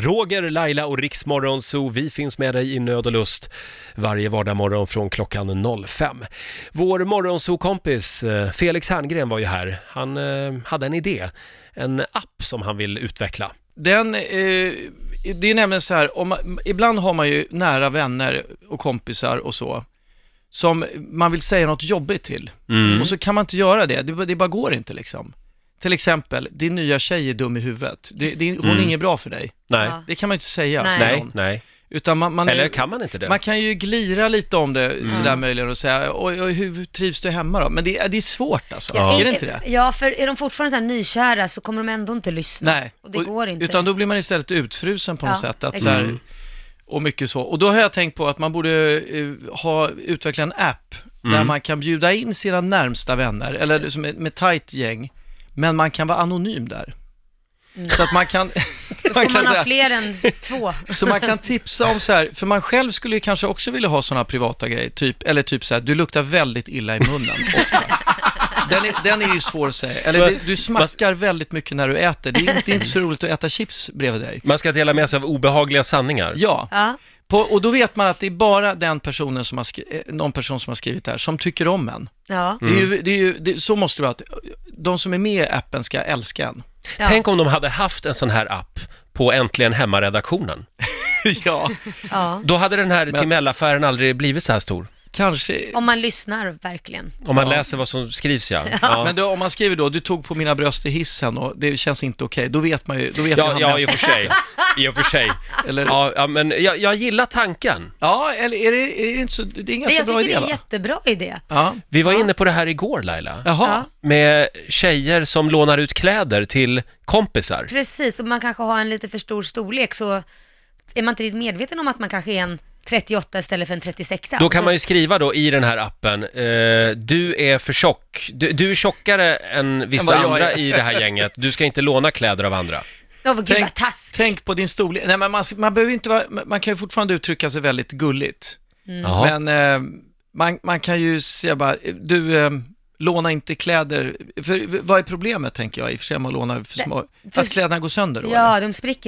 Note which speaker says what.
Speaker 1: Roger, Laila och Riksmorgon Zoo, vi finns med dig i nöd och lust varje vardagsmorgon från klockan 05. Vår morgonzoo-kompis eh, Felix Herngren var ju här. Han eh, hade en idé, en app som han vill utveckla.
Speaker 2: Den, eh, det är nämligen så här, om man, ibland har man ju nära vänner och kompisar och så, som man vill säga något jobbigt till.
Speaker 1: Mm.
Speaker 2: Och så kan man inte göra det, det, bara- det bara går inte liksom. Till exempel, din nya tjej är dum i huvudet. Det, det, hon
Speaker 1: Mm.
Speaker 2: är inget bra för dig.
Speaker 1: Nej,
Speaker 3: Ja.
Speaker 2: Det kan man ju inte säga.
Speaker 3: Nej.
Speaker 2: till
Speaker 1: nej,
Speaker 2: någon.
Speaker 1: nej.
Speaker 2: Utan man, man, är-
Speaker 1: Eller kan man inte det? Mm.
Speaker 2: man kan ju glira lite om det sådär möjligen och säga, oj, oj, hur trivs du hemma då? Men det, är- det är svårt alltså.
Speaker 1: Ja.
Speaker 2: Är det inte det?
Speaker 3: Ja, för är de fortfarande så här nykära så kommer de ändå inte lyssna.
Speaker 2: Nej,
Speaker 3: Och det går inte.
Speaker 2: utan då blir man istället utfrusen på något
Speaker 3: Ja,
Speaker 2: sätt. Att
Speaker 3: exakt.
Speaker 2: så här,
Speaker 1: Mm.
Speaker 2: och mycket så. Och då har jag tänkt på att man borde eh, ha, utveckla en app där
Speaker 1: Mm.
Speaker 2: man kan bjuda in sina närmsta vänner, eller som ett med tajt gäng, men man kan vara anonym där. Så att man kan,
Speaker 3: Mm. Då får man
Speaker 2: säga-
Speaker 3: ha fler än två.
Speaker 2: så man kan tipsa om så här, för man själv skulle ju kanske också vilja ha sådana privata grejer, typ, eller typ så här, du luktar väldigt illa i munnen ofta. Den är, den är ju svår att säga, eller du, du smaskar väldigt mycket när du äter, det är, det är inte så roligt att äta chips bredvid dig.
Speaker 1: Man ska dela med sig av obehagliga sanningar.
Speaker 2: Ja,
Speaker 3: Ja.
Speaker 2: på, och då vet man att det är bara den personen som har skri- eh, någon person som har skrivit det här som tycker om en.
Speaker 3: Ja.
Speaker 2: Det är ju, det är ju, det, så måste det vara, att de som är med i appen ska älska en.
Speaker 3: Ja.
Speaker 1: Tänk om de hade haft en sån här app på Äntligen Hemma-redaktionen.
Speaker 2: ja,
Speaker 3: ja.
Speaker 1: Då hade den här Timell-affären aldrig blivit så här stor.
Speaker 2: kanske.
Speaker 3: Om man lyssnar verkligen.
Speaker 1: Om man läser vad som skrivs, ja. Ja,
Speaker 2: Men då, om man skriver då, du tog på mina bröst i hissen och det känns inte okej, då vet man ju, då vet
Speaker 1: ja,
Speaker 2: jag
Speaker 1: ja
Speaker 2: ja,
Speaker 1: i och för sig. I och för sig.
Speaker 2: Eller-
Speaker 1: Ja, ja, men jag, jag gillar tanken.
Speaker 2: ja, eller är det, är det inte så, det är en
Speaker 3: Men
Speaker 2: ganska
Speaker 3: jag
Speaker 2: bra
Speaker 3: tycker
Speaker 2: idé
Speaker 3: det är en
Speaker 2: va?
Speaker 3: jättebra idé.
Speaker 2: Ja,
Speaker 1: Vi var inne på det här igår, Laila.
Speaker 2: jaha.
Speaker 1: Med tjejer som lånar ut kläder till kompisar.
Speaker 3: Precis, och man kanske har en lite för stor storlek så är man inte riktigt medveten om att man kanske är en 38 istället för en 36
Speaker 1: Då kan man ju skriva då i den här appen, eh, du är för tjock, du, du är tjockare än
Speaker 2: Än
Speaker 1: vissa
Speaker 2: vad jag
Speaker 1: andra
Speaker 2: är.
Speaker 1: i det här gänget, du ska inte låna kläder av andra.
Speaker 3: Ja, vad Alltså, gud
Speaker 2: Tänk,
Speaker 3: vad taskigt.
Speaker 2: tänk på din storlek, nej men man, man behöver ju inte vara, man kan ju fortfarande uttrycka sig väldigt gulligt.
Speaker 1: Jaha.
Speaker 2: Mm. Men eh, man, man kan ju säga bara, du, eh, låna inte kläder. För, vad är problemet, tänker jag, i och för sig, om man lånar för små... Att kläderna går sönder då, eller?
Speaker 3: Ja, de spricker.